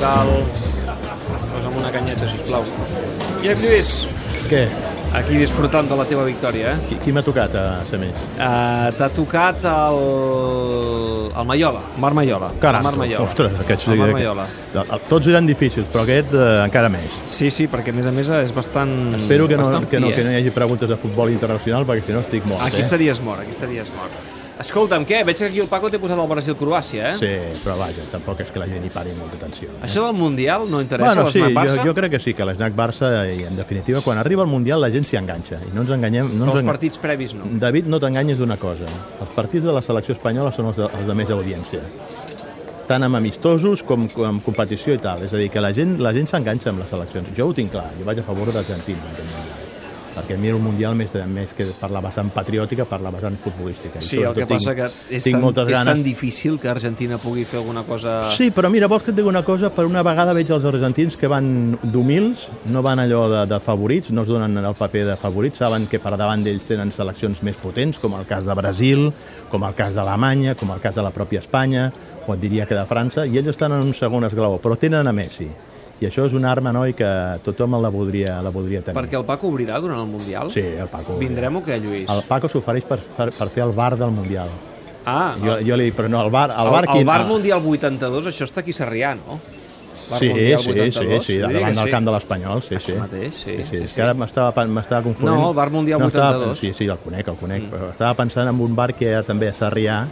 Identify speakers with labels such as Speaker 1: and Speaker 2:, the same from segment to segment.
Speaker 1: cal... Posa'm una canyeta, si plau. Guillem Lluís,
Speaker 2: Què?
Speaker 1: aquí disfrutant de la teva victòria, eh?
Speaker 2: Qui, qui m'ha tocat a ser més?
Speaker 1: Uh, T'ha tocat el... el Maiola, Mar Maiola.
Speaker 2: Caram,
Speaker 1: el Mar Maiola.
Speaker 2: Ostres, aquest...
Speaker 1: El Mar Maiola.
Speaker 2: aquest- Tots eren difícils, però aquest eh, encara més.
Speaker 1: Sí, sí, perquè a més a més és bastant...
Speaker 2: Espero que no,
Speaker 1: bastant
Speaker 2: que, no,
Speaker 1: fi, eh?
Speaker 2: que no hi hagi preguntes de futbol internacional, perquè si no estic mort,
Speaker 1: Aquí
Speaker 2: eh?
Speaker 1: estaries mort, aquí estaries mort. Escolta'm, què? Veig que aquí el Paco t'he posat el Brasil-Croàcia, eh?
Speaker 2: Sí, però vaja, tampoc és que la gent hi pari molta atenció. Eh?
Speaker 1: Això del Mundial no interessa
Speaker 2: Bueno,
Speaker 1: a
Speaker 2: sí,
Speaker 1: l'Snack Barça?
Speaker 2: jo, jo crec que sí, que l'esnac Barça, i en definitiva, quan arriba al Mundial la gent s'hi enganxa, i no ens enganyem... No
Speaker 1: Però
Speaker 2: ens
Speaker 1: els
Speaker 2: enga-
Speaker 1: partits previs no.
Speaker 2: David, no t'enganyis d'una cosa. Els partits de la selecció espanyola són els de, els de més audiència. Tant amb amistosos com, com amb competició i tal. És a dir, que la gent la gent s'enganxa amb les seleccions. Jo ho tinc clar, jo vaig a favor d'Argentina. en aquest Mundial. Perquè a mi el Mundial, més, de, més que per la vessant patriòtica, per la vessant futbolística. I
Speaker 1: Sí, el
Speaker 2: sobretot
Speaker 1: que passa que és tan,
Speaker 2: moltes
Speaker 1: és
Speaker 2: ganes.
Speaker 1: tan difícil que Argentina pugui fer alguna cosa...
Speaker 2: Sí, però mira, vols que et digui una cosa? Per una vegada veig els argentins que van d'humils, no van allò de, de favorits, no es donen el paper de favorits, saben que per davant d'ells tenen seleccions més potents, com el cas de Brasil, com el cas d'Alemanya, com el cas de la pròpia Espanya, o et diria que de França, i ells estan en un segon esglaó, però tenen a Messi. I això és una arma, noi, que tothom la voldria, la voldria tenir.
Speaker 1: Perquè el Paco obrirà durant el Mundial?
Speaker 2: Sí, el Paco.
Speaker 1: Vindrem o què, Lluís?
Speaker 2: El Paco s'ofereix per, per, per fer el bar del Mundial.
Speaker 1: Ah,
Speaker 2: Jo, jo li dic, però no, el bar... El,
Speaker 1: el,
Speaker 2: bar,
Speaker 1: el
Speaker 2: quin-
Speaker 1: Bar Mundial 82, això està aquí a Sarrià, no? Bar
Speaker 2: Sí,
Speaker 1: Mundial
Speaker 2: sí,
Speaker 1: 82,
Speaker 2: sí, sí,
Speaker 1: vull dir
Speaker 2: davant
Speaker 1: que
Speaker 2: del
Speaker 1: sí.
Speaker 2: camp de l'Espanyol, sí, sí.
Speaker 1: mateix, sí,
Speaker 2: sí,
Speaker 1: sí,
Speaker 2: és
Speaker 1: sí.
Speaker 2: que ara m'estava pen- m'estava confonent.
Speaker 1: No, el bar Mundial
Speaker 2: estava,
Speaker 1: 82.
Speaker 2: sí, sí, el conec, el conec, mm. però estava pensant en un bar que era també a Sarrià,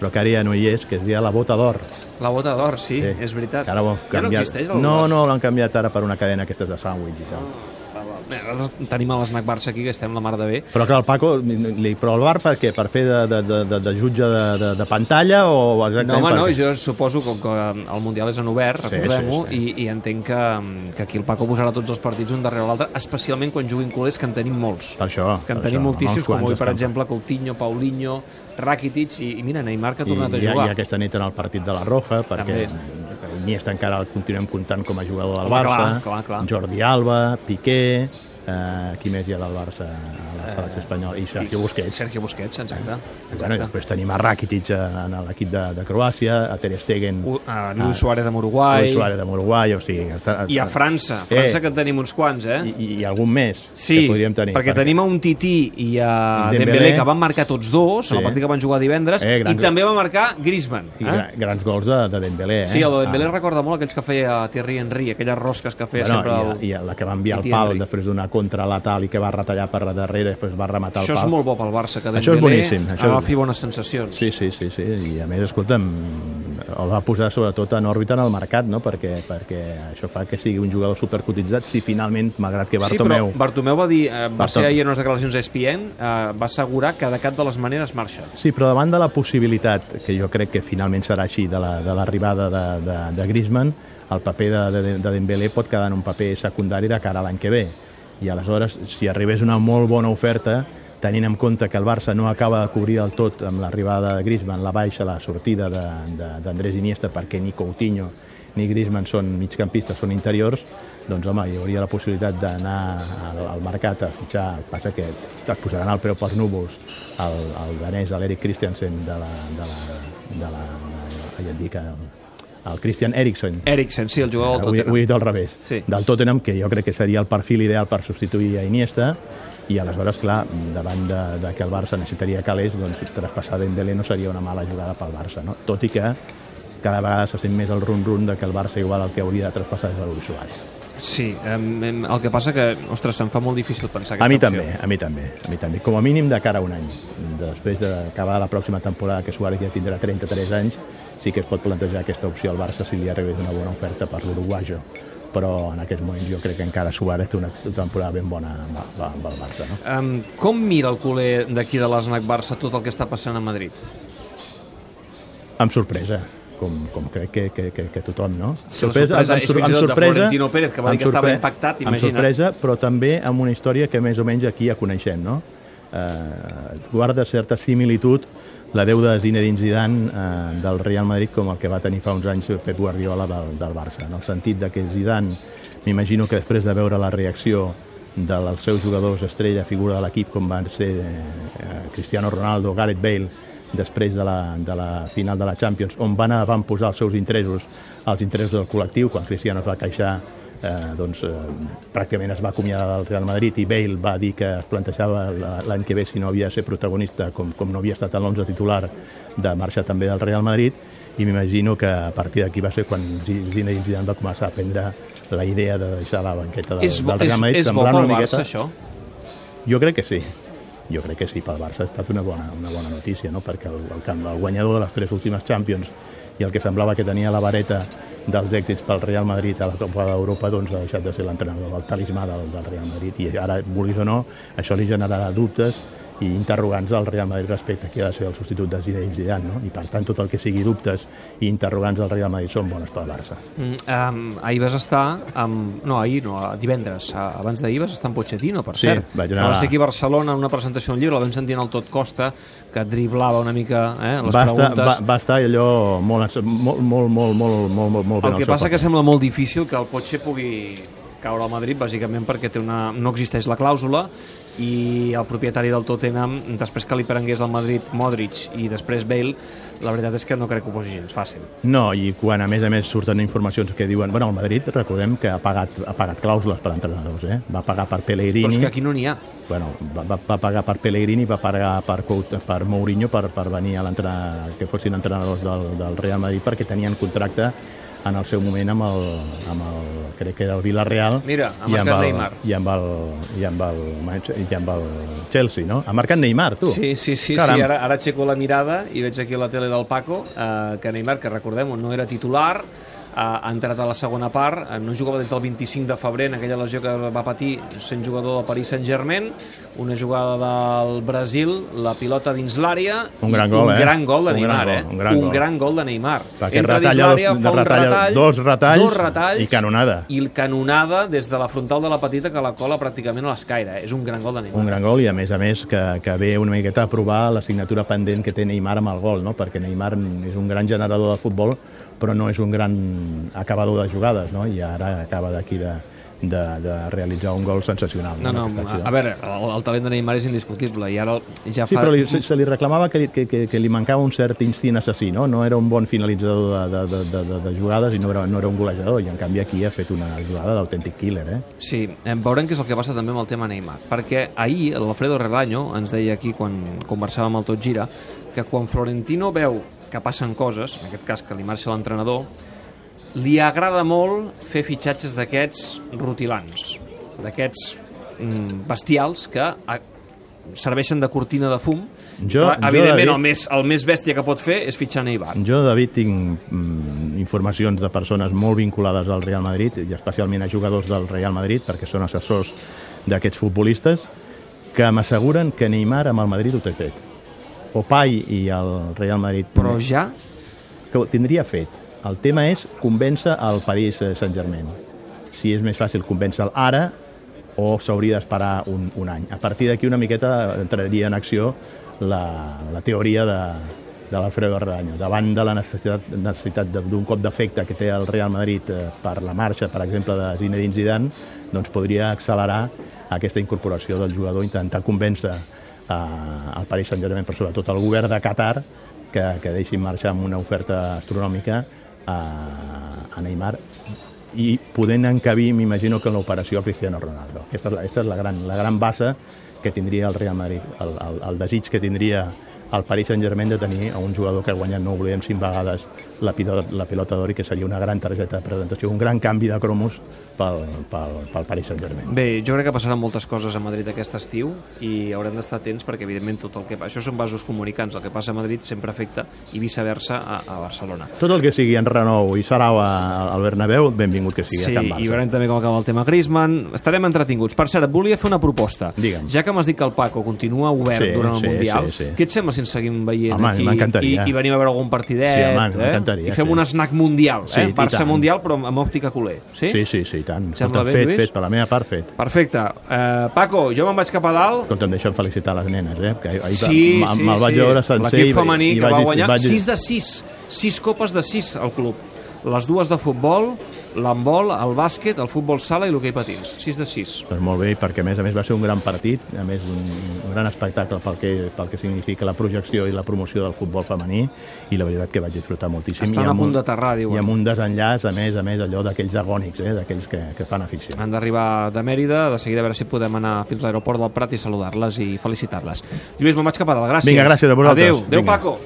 Speaker 2: però que ara ja no hi és, que es deia La Bota d'Or.
Speaker 1: La bota d'or, sí,
Speaker 2: Sí.
Speaker 1: Mm, és veritat.
Speaker 2: Que Ara ho han
Speaker 1: ja no
Speaker 2: canviat.
Speaker 1: existeix el
Speaker 2: no,
Speaker 1: bar.
Speaker 2: no, l'han canviat ara per una cadena aquestes de sàndwich i tal.
Speaker 1: Ah, val. Bé, Nosaltres tenim a l'Snac Barça aquí, que estem la mar de bé.
Speaker 2: Però clar, el Paco, li, però el bar per què? Per fer de, de, de, de, de jutge de, de, de pantalla o
Speaker 1: No,
Speaker 2: exactament
Speaker 1: home,
Speaker 2: per
Speaker 1: no,
Speaker 2: què?
Speaker 1: jo suposo com que um, el Mundial és en obert,
Speaker 2: Sí,
Speaker 1: recordem-ho,
Speaker 2: sí,
Speaker 1: i, i entenc que, um, que aquí el Paco posarà tots els partits un darrere l'altre, especialment quan juguin culers, que en tenim molts.
Speaker 2: Per això.
Speaker 1: que en
Speaker 2: per
Speaker 1: tenim
Speaker 2: això,
Speaker 1: moltíssims,
Speaker 2: uns
Speaker 1: com
Speaker 2: quants
Speaker 1: avui, per
Speaker 2: escampa.
Speaker 1: exemple, Coutinho, Paulinho, Rakitic, i, i mira, Neymar, que ha tornat
Speaker 2: I,
Speaker 1: a
Speaker 2: hi ha-
Speaker 1: jugar.
Speaker 2: I aquesta nit en el partit de la Roja, perquè Iniesta encara el continuem comptant com a jugador del
Speaker 1: Home,
Speaker 2: Barça.
Speaker 1: clar, clar, clar.
Speaker 2: Jordi Alba, Piqué, eh, qui més hi ha del Barça a la selecció espanyola? I Sergio Busquets.
Speaker 1: Sergio Busquets, Eh, exacte.
Speaker 2: Bueno, i
Speaker 1: exacte.
Speaker 2: després tenim a Rakitic a- en l'equip de, de Croàcia, a Ter Stegen,
Speaker 1: U- a Luis Suárez amb Uruguai,
Speaker 2: Ah. Luis Suárez de Uruguai, o sigui... que Està,
Speaker 1: i a França. A França, que en tenim uns quants, eh?
Speaker 2: I, i algun més
Speaker 1: Sí,
Speaker 2: que podríem tenir.
Speaker 1: perquè tenim a un Tití i a
Speaker 2: I Dembélé.
Speaker 1: Dembélé, que van marcar tots dos, sí. a
Speaker 2: Sí.
Speaker 1: la partida que van jugar divendres,
Speaker 2: Eh, gran-
Speaker 1: i també va marcar Griezmann.
Speaker 2: I
Speaker 1: Eh?
Speaker 2: gra- grans gols de, de Dembélé, eh?
Speaker 1: Sí, el Dembélé
Speaker 2: Ah.
Speaker 1: recorda molt aquells que feia Thierry Henry, aquelles rosques que feia
Speaker 2: Bueno,
Speaker 1: sempre...
Speaker 2: i,
Speaker 1: el...
Speaker 2: i la que va enviar el
Speaker 1: Titi
Speaker 2: pal
Speaker 1: Henry.
Speaker 2: després d'una contra letal i que va retallar per la darrere, després va rematar
Speaker 1: Això
Speaker 2: el
Speaker 1: és
Speaker 2: pal.
Speaker 1: molt bo pel Barça, que
Speaker 2: Això és
Speaker 1: Dembélé
Speaker 2: boníssim, això és
Speaker 1: agafi
Speaker 2: bo.
Speaker 1: bones sensacions.
Speaker 2: Sí, sí, sí, sí, i a més, escolta'm, el va posar sobretot en òrbita en el mercat, no?, perquè, perquè això fa que sigui un jugador supercotitzat si finalment, malgrat que Bartomeu...
Speaker 1: Sí, però Bartomeu va dir, eh, va
Speaker 2: Bartomeu.
Speaker 1: ser ahir en unes declaracions a ESPN, eh, va assegurar que de cap de les maneres marxa.
Speaker 2: Sí, però davant de la possibilitat, que jo crec que finalment serà així, de la- de l'arribada la, de, de, de Griezmann, el paper de, de, de Dembélé pot quedar en un paper secundari de cara a l'any que ve. I aleshores, si arribés una molt bona oferta, tenint en compte que el Barça no acaba de cobrir del tot amb l'arribada de Griezmann, la baixa, la sortida de- de- d'Andrés Iniesta, perquè ni Coutinho ni Griezmann són migcampistes, són interiors, doncs home, hi hauria la possibilitat d'anar al, al mercat a fitxar, el que passa que et posaran el preu pels núvols el, el danès, l'Eric Christiansen de la... de la, de la, de la ja et dic, el, el Christian Eriksen,
Speaker 1: Eriksen, sí, el jugador del
Speaker 2: Avui,
Speaker 1: Tottenham.
Speaker 2: avui Eh, he dit al revés.
Speaker 1: Sí.
Speaker 2: Del Tottenham, que jo crec que seria el perfil ideal per substituir a Iniesta, i aleshores, clar, davant de, de que el Barça necessitaria calés, doncs traspassar Dembélé no seria una mala jugada pel Barça, no? Tot i que cada vegada se sent més el run-run de que el Barça igual el que hauria de traspassar és el Luis Suárez.
Speaker 1: Sí, em, em, el que passa que, ostres, se'm fa molt difícil pensar aquesta
Speaker 2: A mi
Speaker 1: opció.
Speaker 2: també, a mi també, a mi també. Com a mínim de cara a un any. Després d'acabar la pròxima temporada, que Suárez ja tindrà 33 anys, sí que es pot plantejar aquesta opció al Barça si li arribés una bona oferta per l'Uruguajo. Però en aquests moments jo crec que encara Suárez té una temporada ben bona amb, amb, amb el Barça. No?
Speaker 1: Em, com mira el culer d'aquí de l'Snac Barça tot el que està passant a Madrid?
Speaker 2: Amb sorpresa, com, com crec que, que, que, que tothom, no?
Speaker 1: Sí, la sorpresa és fins i tot de Florentino Pérez, que va dir
Speaker 2: amb
Speaker 1: que estava
Speaker 2: sorpre-
Speaker 1: impactat, imagina't.
Speaker 2: Amb sorpresa, però també amb una història que més o menys aquí ja coneixem, no? Eh, guarda certa similitud la deuda de Zinedine Zidane eh, del Real Madrid com el que va tenir fa uns anys Pep Guardiola del, del Barça, en el sentit de que Zidane, m'imagino que després de veure la reacció dels seus jugadors estrella, figura de l'equip, com van ser eh, Cristiano Ronaldo, Gareth Bale, després de la, de la final de la Champions, on van, van posar els seus interessos, els interessos del col·lectiu, quan Cristiano es va queixar eh, doncs, eh, pràcticament es va acomiadar del Real Madrid i Bale va dir que es plantejava la- l'any que ve si no havia de ser protagonista com, com no havia estat en l'11 titular de marxa també del Real Madrid i m'imagino que a partir d'aquí va ser quan Zi- Zinedine Zidane va començar a prendre la idea de deixar la banqueta del,
Speaker 1: És bo,
Speaker 2: del
Speaker 1: és,
Speaker 2: Real Madrid
Speaker 1: és bo
Speaker 2: semblant
Speaker 1: pel
Speaker 2: una
Speaker 1: Barça,
Speaker 2: miqueta-
Speaker 1: això?
Speaker 2: jo crec que sí. Jo crec que sí, pel Barça ha estat una bona, una bona notícia, no? perquè el, el, camp- el guanyador de les tres últimes Champions i el que semblava que tenia la vareta dels èxits pel Real Madrid a la Copa d'Europa doncs ha deixat de ser l'entrenador del talismà del, del Real Madrid i ara, vulguis o no, això li generarà dubtes i interrogants al Real Madrid respecte a qui ha de ser el substitut de Zinedine Zidane, no? i per tant tot el que sigui dubtes i interrogants al Real Madrid són bones pel Barça.
Speaker 1: Mm, um, ahir vas estar amb... No, ahir no, divendres. Ah, Abans d'ahir vas estar amb Pochettino, per
Speaker 2: Sí,
Speaker 1: cert.
Speaker 2: vaig anar-
Speaker 1: Que Vas ser aquí a Barcelona en una presentació d'un llibre, la vam sentir en el Tot Costa, que driblava una mica eh, les
Speaker 2: Va estar,
Speaker 1: preguntes.
Speaker 2: va, va estar allò molt, ens- molt, molt, molt, molt, molt, molt, molt
Speaker 1: El
Speaker 2: ben
Speaker 1: que
Speaker 2: al seu
Speaker 1: passa
Speaker 2: paper.
Speaker 1: que sembla molt difícil que el Poche pugui caure al Madrid, bàsicament perquè té una... no existeix la clàusula i el propietari del Tottenham, després que li prengués al Madrid Modric i després Bale, la veritat és que no crec que ho posi gens fàcil.
Speaker 2: No, i quan a més a més surten informacions que diuen, bueno, el Madrid recordem que ha pagat, ha pagat clàusules per entrenadors, eh? va pagar per Pellegrini,
Speaker 1: Però és que aquí no n'hi ha.
Speaker 2: bueno, va, va, va pagar per Pellegrini, va pagar per, Cout- per Mourinho per, per venir a l'entrenar, que fossin entrenadors del, del Real Madrid perquè tenien contracte en el seu moment amb el, amb el crec que era el Villarreal
Speaker 1: Mira, ha
Speaker 2: i amb,
Speaker 1: marcat
Speaker 2: el,
Speaker 1: Neymar.
Speaker 2: i amb el, i amb el, Manche- i amb el Chelsea, no? Ha marcat Neymar, tu.
Speaker 1: Sí, sí, sí,
Speaker 2: Caram.
Speaker 1: sí ara, ara aixeco la mirada i veig aquí la tele del Paco, eh, que Neymar, que recordem, no era titular, eh, ha entrat a la segona part, eh, no jugava des del 25 de febrer en aquella lesió que va patir sent jugador del Paris Saint-Germain, una jugada del Brasil, la pilota dins l'àrea,
Speaker 2: Un
Speaker 1: i
Speaker 2: gran gol,
Speaker 1: un
Speaker 2: eh?
Speaker 1: gran gol de
Speaker 2: Un gran
Speaker 1: Neymar,
Speaker 2: gol,
Speaker 1: eh?
Speaker 2: un gran
Speaker 1: un
Speaker 2: gol.
Speaker 1: gran gol de Neymar.
Speaker 2: Perquè
Speaker 1: Entra dins
Speaker 2: retalla dos-
Speaker 1: l'àrea, fa un
Speaker 2: retalla
Speaker 1: retall,
Speaker 2: dos retalls
Speaker 1: dos retalls
Speaker 2: i canonada.
Speaker 1: I el canonada des de la frontal de la petita que la cola pràcticament a l'escaire. eh? És un gran gol de Neymar.
Speaker 2: Un gran gol i, a més a més, que, que ve una miqueta a provar la signatura pendent que té Neymar amb el gol, no? perquè Neymar és un gran generador de futbol, però no és un gran acabador de jugades, no? i ara acaba d'aquí de, de, de realitzar un gol sensacional.
Speaker 1: No,
Speaker 2: en
Speaker 1: no,
Speaker 2: aquesta
Speaker 1: a,
Speaker 2: acció.
Speaker 1: a veure, el, el talent de Neymar és indiscutible i ara el- ja
Speaker 2: Sí,
Speaker 1: fa...
Speaker 2: però li, se, se li reclamava que, li- que, que, que li mancava un cert instint assassí, no? No era un bon finalitzador de, de, de, de, de jugades i no era, no era un golejador, i en canvi aquí ha fet una jugada d'autèntic killer, eh?
Speaker 1: Sí, em veurem què és el que passa també amb el tema Neymar, perquè ahir l'Alfredo Relaño ens deia aquí quan conversàvem al Tot Gira que quan Florentino veu que passen coses, en aquest cas que li marxa l'entrenador, li agrada molt fer fitxatges d'aquests rutilants, d'aquests mm, bestials que a, serveixen de cortina de fum.
Speaker 2: Jo-
Speaker 1: Però,
Speaker 2: jo,
Speaker 1: evidentment,
Speaker 2: David-
Speaker 1: el, més, el més bèstia que pot fer és fitxar Neymar.
Speaker 2: Jo, David, tinc mm, informacions de persones molt vinculades al Real Madrid i especialment a jugadors del Real Madrid perquè són assessors d'aquests futbolistes que m'asseguren que Neymar amb el Madrid ho té fet. Opai i el Real Madrid
Speaker 1: Però ja
Speaker 2: que ho tindria fet. El tema és convèncer el Paris Saint-Germain. Si és més fàcil convèncer-lo ara o s'hauria d'esperar un, un any. A partir d'aquí una miqueta entraria en acció la, la teoria de, de l'Alfredo Arranyo. Davant de la necessitat, necessitat de- d'un cop d'efecte que té el Real Madrid eh, per la marxa, per exemple, de Zinedine Zidane, doncs podria accelerar aquesta incorporació del jugador, intentar convèncer eh, el Paris Saint-Germain, però sobretot el govern de Qatar, que, que deixin marxar amb una oferta astronòmica a, a Neymar i podent encabir, m'imagino, que en l'operació a Cristiano Ronaldo. Aquesta és, la, aquesta és la, gran, la gran base que tindria el Real Madrid, el, el, el desig que tindria el Paris Saint-Germain de tenir a un jugador que ha guanyat, no ho oblidem, cinc vegades la pilota, la pilota d'or i que seria una gran targeta de presentació, un gran canvi de cromos pel, pel, pel Paris Saint-Germain.
Speaker 1: Bé, jo crec que passaran moltes coses a Madrid aquest estiu i haurem d'estar atents perquè, evidentment, tot el que... això són vasos comunicants. El que passa a Madrid sempre afecta i viceversa a, a Barcelona.
Speaker 2: Tot el que sigui en Renou i Sarau a- al Bernabéu, benvingut que sigui
Speaker 1: Sí,
Speaker 2: a Can
Speaker 1: i
Speaker 2: Barça.
Speaker 1: veurem també com acaba el tema Griezmann. Estarem entretinguts. Per cert, et volia fer una proposta.
Speaker 2: Digue'm.
Speaker 1: Ja que m'has dit que el Paco continua obert
Speaker 2: Sí,
Speaker 1: durant
Speaker 2: sí,
Speaker 1: el Mundial,
Speaker 2: sí, sí.
Speaker 1: què et sembla si ens seguim veient
Speaker 2: Home,
Speaker 1: aquí i,
Speaker 2: m'encantaria.
Speaker 1: i venim a veure algun partidet?
Speaker 2: Sí, home,
Speaker 1: eh?
Speaker 2: m'encantaria,
Speaker 1: I fem
Speaker 2: sí.
Speaker 1: un snack mundial,
Speaker 2: Sí,
Speaker 1: eh?
Speaker 2: i
Speaker 1: Barça
Speaker 2: tant.
Speaker 1: mundial, però amb òptica culer. Sí?
Speaker 2: Sí, sí, sí, i tant.
Speaker 1: Sembla
Speaker 2: Escolta,
Speaker 1: bé,
Speaker 2: fet,
Speaker 1: Lluís?
Speaker 2: fet, per la meva part fet.
Speaker 1: Perfecte. Eh, Paco, jo me'n vaig cap a dalt.
Speaker 2: Escolta, em deixen felicitar les nenes, eh? Que ahir
Speaker 1: Sí,
Speaker 2: va-
Speaker 1: sí,
Speaker 2: me'l vaig
Speaker 1: sí.
Speaker 2: veure sencer
Speaker 1: L'equip femení que va
Speaker 2: vaig-
Speaker 1: guanyar
Speaker 2: vaig-
Speaker 1: 6 de 6, 6 copes de 6 al club. les dues de futbol, l'handbol, el bàsquet, el futbol sala i l'hoquei patins. 6 de 6.
Speaker 2: Doncs molt bé, perquè a més a més va ser un gran partit, a més un, un gran espectacle pel que, pel que significa la projecció i la promoció del futbol femení i la veritat que vaig disfrutar moltíssim.
Speaker 1: Estan
Speaker 2: I amb
Speaker 1: a punt
Speaker 2: un-
Speaker 1: d'aterrar, diuen.
Speaker 2: I amb un desenllaç, a més, a més, allò d'aquells agònics, eh, d'aquells que, que fan afició.
Speaker 1: Han d'arribar de Mèrida, de seguida a veure si podem anar fins a l'aeroport del Prat i saludar-les i felicitar-les. Lluís, me'n vaig cap a dalt, gràcies.
Speaker 2: Vinga, gràcies a vosaltres.
Speaker 1: Adéu, adéu
Speaker 2: Vinga.
Speaker 1: Paco.